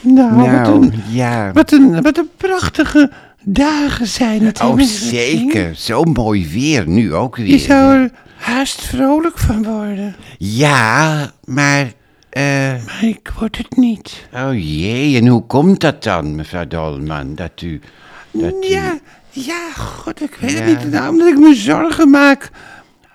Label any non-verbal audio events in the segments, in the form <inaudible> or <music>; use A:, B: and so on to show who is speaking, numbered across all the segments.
A: Nou, wat, een,
B: ja.
A: wat, een, wat een prachtige dagen zijn het. hè,
B: Oh,
A: meneer Singh?
B: zeker. Zo mooi weer nu ook weer.
A: Je zou er haast vrolijk van worden.
B: Ja, maar... eh,
A: Maar ik word het niet.
B: oh jee, en hoe komt dat dan, mevrouw Dolman? Dat u... Dat u-
A: Ja, ja, god, ik weet
B: Ja.
A: het niet. Nou, omdat ik me zorgen maak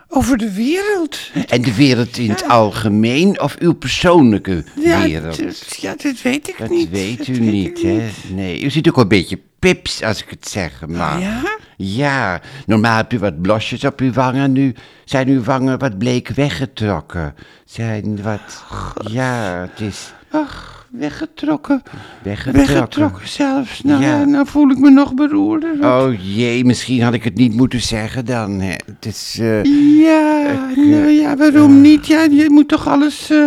A: over de wereld.
B: En de wereld in het algemeen of uw persoonlijke
A: Ja,
B: wereld?
A: d- ja dat weet ik
B: Dat
A: niet.
B: weet
A: Dat
B: u
A: ik
B: niet, hè? Nee, u ziet ook wel een beetje pips, als ik het zeg, maar...
A: Ja?
B: Ja, normaal hebt u wat blosjes op uw wangen, nu zijn uw wangen wat bleek weggetrokken. Zijn wat... Ja, het is
A: Ach, weggetrokken.
B: weggetrokken.
A: Weggetrokken zelfs. Nou,
B: Ja.
A: ja, nou voel ik me nog beroerder.
B: Oh jee, misschien had ik het niet moeten zeggen dan. Hè. Het is... eh,
A: Ja, nou ja, waarom niet? Ja, je moet toch alles eh,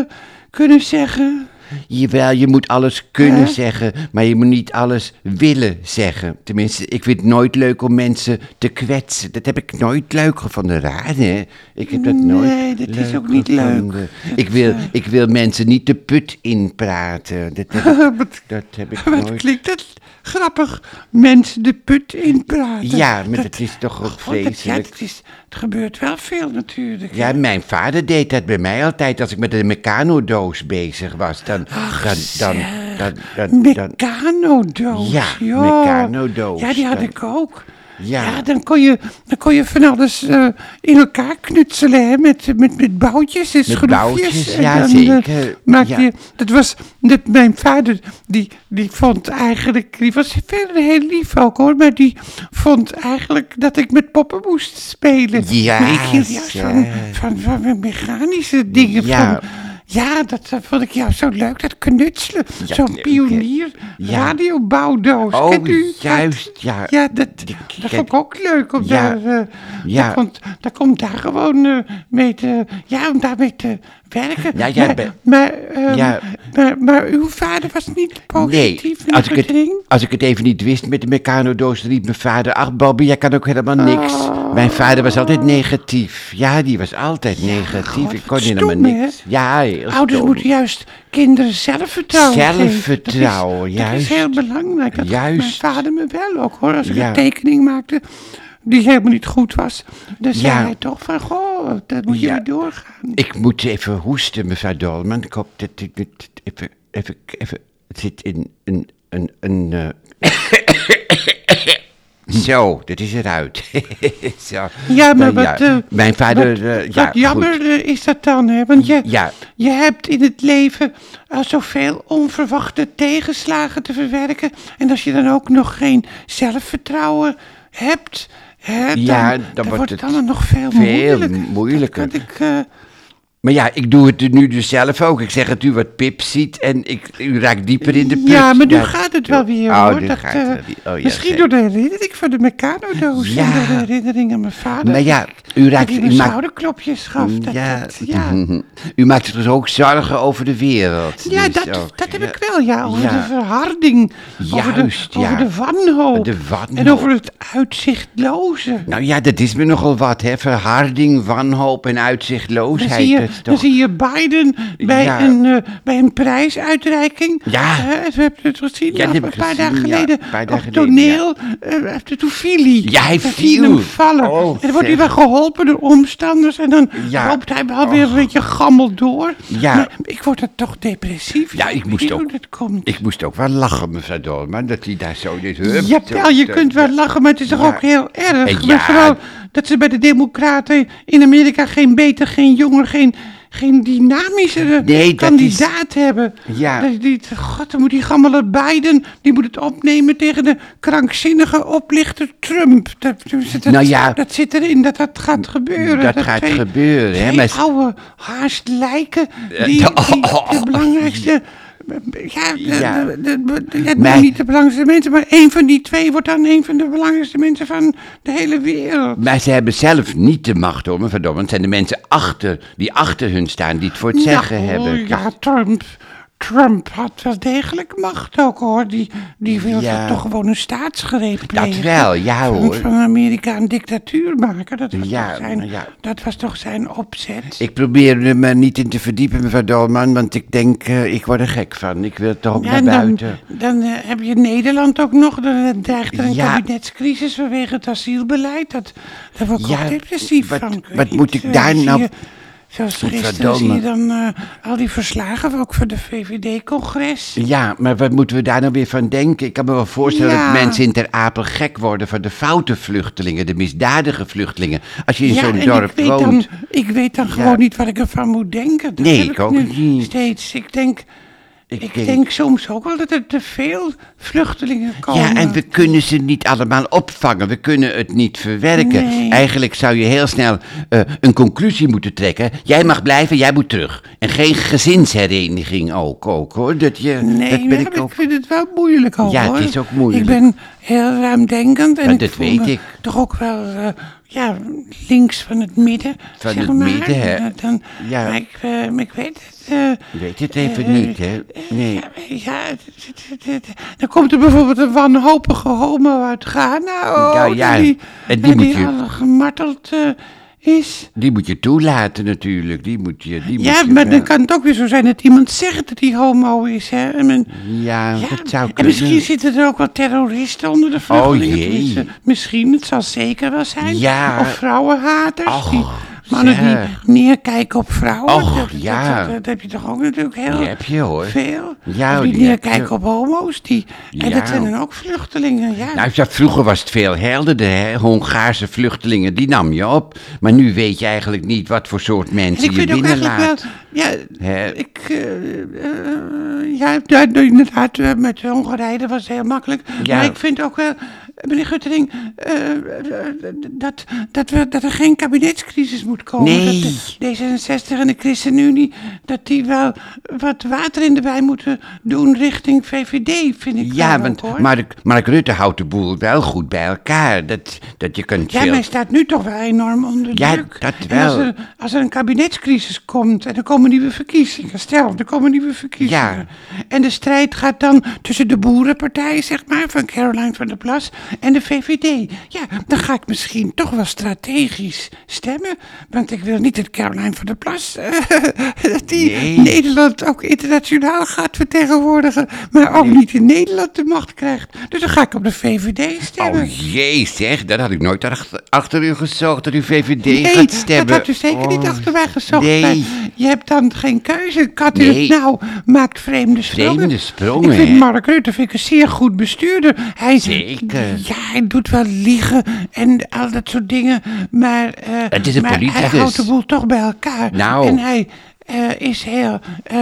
A: kunnen zeggen? <laughs>
B: Jawel, je moet alles kunnen
A: Hè?
B: zeggen, maar je moet niet alles willen zeggen. Tenminste, ik vind het nooit leuk om mensen te kwetsen. Dat heb ik nooit leuk gevonden, raar hè? Ik heb dat nooit
A: Nee, dat is ook niet
B: gevonden. Ik wil, ik wil mensen niet de put inpraten. Dat heb ik,
A: <laughs> Wat,
B: dat heb ik
A: wat
B: nooit.
A: klinkt dat grappig? Mensen de put in praten.
B: Ja, maar dat is toch ook
A: God, Oh, dat, ja,
B: vreselijk.
A: het, is, het gebeurt wel veel natuurlijk.
B: Ja, mijn vader deed dat bij mij altijd. Als ik met de mecano-doos bezig was, dan... dan, dan, dan, dan, dan,
A: Mecano-doos.
B: Ja,
A: joh.
B: Meccano-doos.
A: Ja, die had
B: Dan-
A: ik ook.
B: Ja.
A: dan, kon je, dan kon je van alles eh, in elkaar knutselen, hè, met, met, met boutjes en schroefjes.
B: boutjes,
A: En
B: ja,
A: dan, eh,
B: zeker.
A: maakte
B: Ja.
A: je, dat was, dat, mijn vader, die, die vond eigenlijk, die was verder heel lief ook hoor, maar die vond eigenlijk dat ik met poppen moest spelen.
B: Ja,
A: Maar ik hield juist van,
B: zeg.
A: van, van, van mechanische dingen,
B: Ja.
A: van... Ja, dat eh, vond ik jou zo leuk, dat knutselen.
B: Ja,
A: Zo'n
B: leuk,
A: pionier
B: Ja.
A: radiobouwdoos.
B: Oh,
A: Kent u dat?
B: juist, ja.
A: Ja, dat,
B: Die
A: dat
B: ken-
A: vond ik ook leuk. Om
B: Ja,
A: daar, eh,
B: ja.
A: Daar, komt, daar komt daar gewoon eh, mee te... Ja, om daarmee te werken.
B: Ja, jij
A: maar,
B: bent-
A: maar, ehm,
B: Ja.
A: maar, maar uw vader was niet positief
B: als ik,
A: het
B: het,
A: ding.
B: als ik het even niet wist met de mecano-doos, dan riep mijn vader... Ach, Bobby, jij kan ook helemaal niks.
A: Oh.
B: Mijn vader was altijd negatief. Ja, die was altijd negatief.
A: God,
B: ik kon
A: wat
B: helemaal
A: stom, hè?
B: niks. Ja, heel
A: Ouders
B: stom.
A: moeten juist kinderen zelfvertrouwen geven. Dat is-
B: Zelfvertrouwen,
A: Dat is
B: juist.
A: heel belangrijk. Dat gaf mijn
B: Juist.
A: vader me wel ook hoor. Als ik
B: Ja.
A: een tekening maakte die helemaal niet goed was. Dan zei
B: Ja.
A: hij toch van, goh, dat moet
B: Ja.
A: je niet doorgaan.
B: Ik moet even hoesten, mevrouw Dolman. Ik hoop dat ik dit even... even, even het zit in een... een, een eh, <coughs> Zo, dat is eruit. <laughs> Zo.
A: Ja, maar
B: Nou ja,
A: wat, eh,
B: mijn vader...
A: wat,
B: eh,
A: wat
B: ja, goed.
A: jammer eh, is dat dan, hè? Want je,
B: Ja.
A: je hebt in het leven al zoveel onverwachte tegenslagen te verwerken. En als je dan ook nog geen zelfvertrouwen hebt, hè, dan,
B: Ja, dan
A: dan
B: wordt
A: wordt
B: het
A: het allemaal nog veel,
B: veel
A: moeilijker.
B: moeilijker.
A: Dat kan ik, eh,
B: Maar ja, ik doe het nu dus zelf ook. Ik zeg het u wat Pip ziet en ik, u raakt dieper in de put.
A: ja, maar nu
B: Dat-
A: gaat het wel weer,
B: Oh,
A: hoor.
B: nu
A: Dat,
B: gaat
A: eh,
B: het wel weer. Oh, ja,
A: misschien
B: zeker.
A: door de herinnering van de Meccano-doos
B: Ja.
A: en door de herinnering aan mijn vader.
B: Maar ja, u
A: dat
B: raakt...
A: hij
B: U
A: me
B: maakt,
A: schouderklopjes gaf. Dat,
B: ja, mhm.
A: dat, ja.
B: <laughs> u maakt zich dus ook zorgen over de wereld.
A: Ja,
B: dus
A: dat,
B: ook,
A: dat heb
B: ja.
A: ik wel, ja. Over
B: Ja.
A: de verharding. over,
B: Juist,
A: de,
B: ja.
A: over de wanhoop.
B: De wanhoop.
A: En over het uitzichtloze.
B: Nou ja, dat is me nogal wat, hè. Verharding, wanhoop en
A: Dan
B: uitzichtloosheid.
A: zie, je,
B: dat is
A: dan
B: toch...
A: zie je Biden bij,
B: Ja.
A: een, eh, bij een prijsuitreiking.
B: Ja.
A: Eh, we hebben het gezien
B: Ja, dat
A: af-
B: heb
A: een
B: ik
A: paar
B: gezien,
A: dagen
B: ja.
A: geleden.
B: Een paar
A: op
B: dagen
A: het
B: geleden, ja.
A: toneel. eh, heeft het toen viel hij.
B: Ja, hij
A: Dan zie je hem
B: viel.
A: vallen.
B: Oh,
A: en dan wordt hij
B: zeg.
A: wel geholpen door omstanders. En dan
B: Ja. Oh.
A: loopt hij wel weer een beetje gammel door.
B: Ja.
A: Maar ik word er toch depressief.
B: Ja, ik moest
A: weet
B: ook.
A: hoe dat komt.
B: Ik moest ook wel lachen, mevrouw Dolman, dat hij daar zo... Dit, hup,
A: Jawel,
B: zo-
A: je
B: zo-
A: kunt wel lachen, maar het is toch
B: Ja.
A: ook heel erg.
B: Ja.
A: Maar vooral dat ze bij de Democraten in Amerika geen beter, geen jonger, geen, geen dynamischere
B: Nee, dat
A: kandidaat hebben.
B: Ja.
A: Dat, die, God, dan moet die gammele Biden, die moet het opnemen tegen de krankzinnige oplichter Trump. Dat, dat,
B: Nou ja.
A: dat zit erin, dat dat gaat gebeuren.
B: Dat gaat gebeuren, hè,
A: twee
B: maar-
A: oude haast lijken, die,
B: Eh, <laughs>
A: die
B: oh, oh,
A: de
B: oh. <laughs>
A: belangrijkste... Ja, de-
B: Ja.
A: de- de- de- ja,
B: Maar-
A: niet de belangrijkste mensen, maar één van die twee wordt dan een van de belangrijkste mensen van de hele wereld.
B: Maar ze hebben zelf niet de macht, hoor, mevrouw Dolman. Het zijn de mensen achter, die achter hun staan, die het voor het zeggen
A: Nou,
B: hebben.
A: Ja, Trump. Trump had wel degelijk macht ook hoor. Die, die wilde
B: Ja.
A: toch gewoon een staatsgreep
B: Dat
A: plegen.
B: wel, ja
A: Van-
B: hoor.
A: Van Amerika een dictatuur maken. Dat was,
B: Ja,
A: toch, zijn,
B: ja.
A: dat was toch zijn opzet?
B: Ik probeer er me niet in te verdiepen, mevrouw Dolman, want ik denk, eh, ik word er gek van. Ik wil toch ook
A: Ja,
B: naar
A: en dan,
B: buiten.
A: dan eh, heb je Nederland ook nog. Dan eh, dreigt er een
B: Ja.
A: kabinetscrisis vanwege het asielbeleid. Dat, daar word ik
B: Ja,
A: ook depressief
B: wat-
A: van. weet
B: wat
A: niet,
B: moet ik
A: eh,
B: daar
A: zie
B: nou-
A: je- Zoals gisteren
B: Verdomme.
A: zie je dan eh, al die verslagen, ook voor de VVD-congres.
B: Ja, maar wat moeten we daar nou weer van denken? Ik kan me wel voorstellen
A: Ja.
B: dat mensen in Ter Apel gek worden van de foute vluchtelingen, de misdadige vluchtelingen. Als je in zo'n
A: en
B: dorp
A: ik weet
B: woont.
A: Dan, ik weet dan gewoon niet wat ik ervan moet denken. Dat
B: Nee,
A: heb
B: ik ook
A: nu
B: niet.
A: Steeds. Ik denk, ik, denk...
B: denk-
A: soms ook wel dat er te veel vluchtelingen komen.
B: Ja, en we kunnen ze niet allemaal opvangen. We kunnen het niet verwerken.
A: Nee.
B: Eigenlijk zou je heel snel eh, een conclusie moeten trekken. Jij mag blijven, jij moet terug. En geen gezinshereniging ook, ook hoor. Dat, je,
A: Nee,
B: dat
A: maar
B: ben
A: ik,
B: ik ook.
A: vind het wel moeilijk al,
B: Ja, het
A: hoor.
B: is ook moeilijk.
A: Ik ben heel ruimdenkend. En
B: Ja,
A: ik
B: dat
A: voel
B: weet
A: me
B: ik.
A: toch ook wel eh, ja, links van het midden,
B: Van
A: zeg
B: het
A: maar.
B: midden, hè?
A: Eh, Dan,
B: Ja.
A: maar ik, eh, maar ik weet het... eh,
B: Je weet het even
A: eh,
B: niet, hè? Nee.
A: Ja, ja, het- het- het- het- dan komt er bijvoorbeeld een wanhopige homo uit Ghana. Oh,
B: Ja, ja.
A: Die,
B: En die
A: eh,
B: moet je-
A: al gemarteld eh, is.
B: Die moet je toelaten natuurlijk. Die moet je. Die
A: Ja,
B: moet je
A: maar
B: wel-
A: dan kan het ook weer zo zijn dat iemand zegt dat hij homo is. Hè? En men-
B: Ja,
A: ja,
B: dat zou
A: en
B: kunnen.
A: misschien zitten er ook wel terroristen onder de vluchtelingen.
B: Oh, jee.
A: Tenminste, Misschien, het zal zeker wel zijn.
B: Ja.
A: Of vrouwenhaters.
B: Och,
A: die mannen
B: zeg.
A: die neerkijken op vrouwen.
B: Och,
A: dat, dat-
B: ja.
A: Dat, dat heb je toch ook natuurlijk heel
B: Die heb je, hoor.
A: veel.
B: Ja,
A: Of die
B: die heb
A: neerkijken
B: je.
A: op homo's. Die, en
B: Ja.
A: dat zijn dan ook vluchtelingen. Ja.
B: Nou, ja, vroeger was het veel helderder, hè? Hongaarse vluchtelingen, die nam je op. Maar nu weet je eigenlijk niet wat voor soort
A: En
B: mensen
A: Dus ik
B: je
A: vind ook eigenlijk wel,
B: binnenlaat.
A: ja,
B: Hè?
A: ik, eh, eh, ja, ja, nou, inderdaad, eh, met Hongarije dat was heel makkelijk.
B: Ja.
A: Maar ik vind ook wel, meneer Guttering, eh, eh, dat, dat, we, dat er geen kabinetscrisis moet komen.
B: Nee.
A: Dat de D66 en de ChristenUnie, dat die wel wat water in de wijn moeten doen richting VVD, vind ik
B: Ja,
A: wel ook,
B: want
A: hoor.
B: Mark, Mark Rutte houdt de boel wel goed bij elkaar. Dat, dat je kunt
A: Ja,
B: veel...
A: maar hij staat nu toch wel enorm onder
B: Ja,
A: druk.
B: dat
A: En als,
B: wel.
A: er, als er een kabinetscrisis komt en er komen nieuwe verkiezingen, stel, er komen nieuwe verkiezingen. En de strijd gaat dan tussen de boerenpartij, zeg maar, van Caroline van der Plas en de VVD. Ja, dan ga ik misschien toch wel strategisch stemmen, want ik wil niet dat Caroline van der Plas, <laughs> eh, dat die
B: Nee.
A: Nederland ook internationaal gaat vertegenwoordigen, maar ook niet in Nederland de macht krijgt. Dus dan ga ik op de VVD stemmen.
B: Oh jee, zeg, dat had ik nooit achter, achter u gezocht, dat u VVD
A: Nee,
B: gaat stemmen.
A: dat had u zeker niet
B: Oh.
A: achter mij gezocht.
B: Nee.
A: maar Je hebt dan geen keuze. Kat u
B: Nee.
A: het nou, maakt vreemde sprongen.
B: Vreemde sprongen,
A: Ik vind
B: hè?
A: Mark Rutte vind ik een zeer goed bestuurder. Hij,
B: Zeker.
A: Ja, hij doet wel liegen en al dat soort dingen. Maar, eh,
B: Het is een
A: maar hij
B: politicus.
A: houdt de boel toch bij elkaar.
B: Nou.
A: En hij eh, is heel, eh,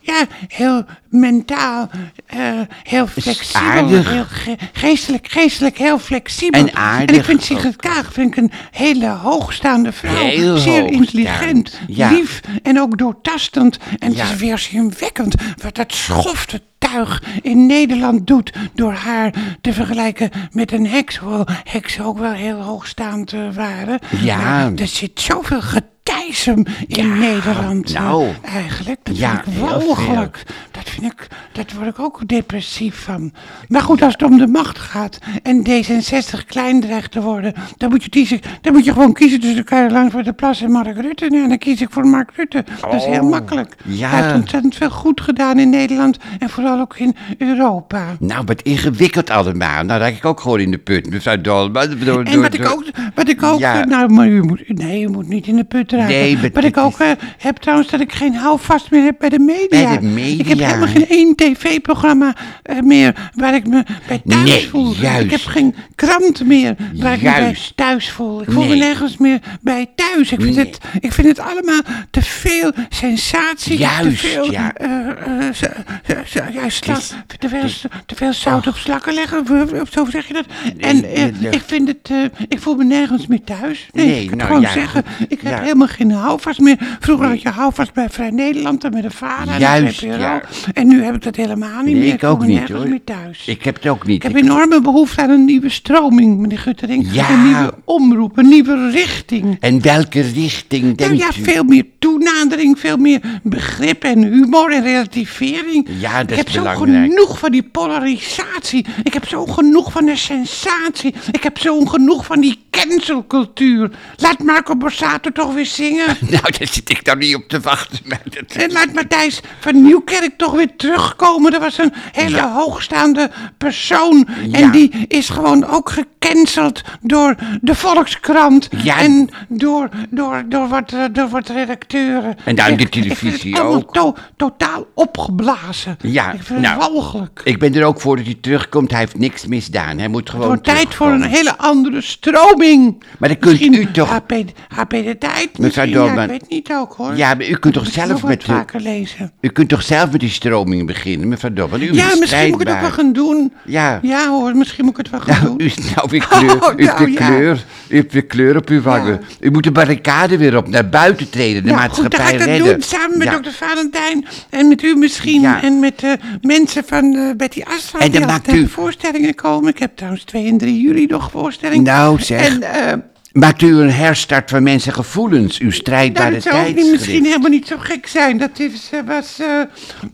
A: ja, heel mentaal, eh, heel flexibel.
B: aardig.
A: Heel ge- geestelijk, geestelijk heel flexibel.
B: En aardig
A: ik vind Sigrid
B: ook.
A: Kaag vind ik een hele hoogstaande vrouw vrouw.
B: Heel
A: zeer
B: hoog
A: intelligent,
B: staand, ja.
A: lief en ook doortastend. En
B: Ja.
A: het is weerzinwekkend wat dat schofte tuig in Nederland doet... door haar te vergelijken met een heks. Hoewel heksen ook wel heel hoogstaand eh, waren.
B: Ja.
A: Maar er zit zoveel getijsem in Nederland. eh,
B: nou.
A: Eigenlijk, dat
B: Ja,
A: vind ik
B: heel veel.
A: walgelijk. Dat vind ik, dat word ik ook depressief van. Maar goed, als het om de macht gaat en D66 klein dreigt te worden, dan moet je, kiezen, dan moet je gewoon kiezen tussen Caroline van der Plas en Mark Rutte. Nou, En dan kies ik voor Mark Rutte. Dat is heel
B: Oh,
A: makkelijk.
B: ja.
A: Hij heeft ontzettend veel goed gedaan in Nederland en vooral ook in Europa.
B: Nou, wat ingewikkeld allemaal. Nou, raak ik ook gewoon in de put, mevrouw Dolman. Door-
A: En
B: door-
A: wat ik
B: door-
A: ook, wat ik ook
B: Ja.
A: eh, nou, maar u moet, nee, u moet niet in de put raken.
B: Nee, maar
A: wat
B: dit
A: ik ook
B: is-
A: eh, heb trouwens, dat ik geen houvast meer heb bij de media.
B: Bij de
A: Ik heb
B: media.
A: helemaal geen één tv-programma eh, meer waar ik me bij thuis
B: Nee,
A: voel. Ik
B: juist.
A: heb geen krant meer waar ik me bij
B: Juist.
A: thuis voel. Ik voel me
B: Nee.
A: nergens meer bij thuis. Ik vind,
B: Nee.
A: het, ik vind het allemaal te veel sensatie.
B: Juist,
A: te veel,
B: ja.
A: eh, eh, s- s- ja, sla-
B: is- Oh.
A: te veel, te veel zout op slakken leggen, of zo zeg je dat. En
B: Nee,
A: eh,
B: nee.
A: ik vind het, eh, ik voel me nergens meer thuis. Nee,
B: Nee,
A: ik kan
B: nou
A: gewoon
B: ja,
A: zeggen,
B: goed.
A: ik heb
B: Ja.
A: helemaal geen houvast meer. Vroeger had je houvast bij Vrij Nederland en bij de VARA
B: Juist,
A: en de VPRO.
B: ja.
A: En nu heb ik dat helemaal niet
B: Nee,
A: meer.
B: ik ook
A: voel me
B: niet,
A: nergens
B: hoor.
A: meer thuis.
B: Ik heb het ook niet.
A: Ik heb enorme behoefte aan een nieuwe stroming, meneer Guttering.
B: Ja.
A: Een nieuwe omroep, een nieuwe richting.
B: En welke richting
A: Nou
B: denkt
A: ja,
B: u?
A: veel meer toenadering veel meer begrip en humor en relativering.
B: Ja, dat
A: Ik
B: is
A: heb zo
B: belangrijk.
A: genoeg van die polarisatie. Ik heb zo genoeg van de sensatie. Ik heb zo genoeg van die cancelcultuur. Laat Marco Borsato toch weer zingen.
B: <laughs> Nou, daar zit ik dan niet op te wachten. maar dat-
A: En Eh, laat Matthijs van Nieuwkerk toch weer terugkomen. Dat was een hele
B: Ja.
A: hoogstaande persoon.
B: Ja.
A: En die is gewoon ook gecanceld door de Volkskrant.
B: Ja.
A: En door, door, door, wat, eh, door wat redacteuren.
B: En daar de
A: Ik- ik vind
B: televisie
A: het allemaal
B: ook.
A: to- totaal opgeblazen.
B: Ja,
A: Ik vind
B: nou,
A: het walgelijk.
B: Ik ben er ook voor dat hij terugkomt. Hij heeft niks misdaan. Hij moet
A: Het
B: gewoon
A: wordt tijd voor een
B: terugkomen.
A: hele andere stroming.
B: Maar dan kunt
A: Misschien
B: u toch-
A: HP, HP de tijd. Misschien, ja,
B: Dolman.
A: ik weet niet ook hoor.
B: Ja, maar u kunt toch
A: Misschien
B: zelf
A: nog
B: met...
A: wat vaker lezen.
B: U kunt toch zelf met die stroming beginnen, mevrouw Dobben? U
A: Ja,
B: bent
A: misschien moet ik het ook wel
B: strijdbaar.
A: gaan doen.
B: Ja.
A: Ja hoor, misschien moet ik het wel gaan
B: Nou,
A: doen.
B: <laughs> u is nou weer kleur.
A: Oh,
B: u,
A: nou,
B: hebt weer
A: ja.
B: kleur u hebt weer kleur op uw wangen. U moet de barricade weer op, naar buiten treden, de
A: Nou, goed, dan
B: maatschappij
A: ga ik dat
B: redden.
A: doen samen met
B: Ja.
A: dokter Valentijn en met u misschien
B: Ja.
A: en met eh, mensen van eh, Betty Astra.
B: En dan
A: die
B: maakt
A: altijd
B: u-
A: voorstellingen komen. Ik heb trouwens 2 en 3 juli nog voorstellingen.
B: Nou, zeg.
A: En eh,
B: Maakt u een herstart van mensen gevoelens, uw
A: nou,
B: strijdbare
A: dat zou ook
B: tijd.
A: niet, misschien helemaal niet zo gek zijn. Dat is, eh, was eh,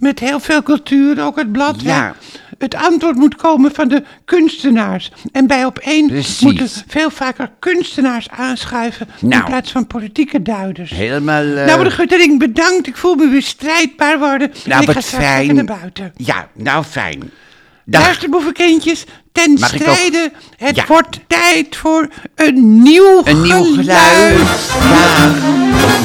A: met heel veel cultuur ook het blad. hè.
B: Ja.
A: Het antwoord moet komen van de kunstenaars. En bij op één
B: Precies.
A: moeten veel vaker kunstenaars aanschuiven
B: Nou.
A: in plaats van politieke duiders.
B: Helemaal... eh,
A: Nou, meneer Guttering, bedankt. Ik voel me weer strijdbaar worden. En
B: nou,
A: ik ga
B: wat
A: straks lekker
B: fijn.
A: naar buiten.
B: Ja, nou fijn. Dag.
A: Luister, boevenkindjes, ten
B: Mag ik ook-
A: strijde. Het
B: Ja.
A: wordt tijd voor een nieuw
B: Een nieuw geluid. Ja.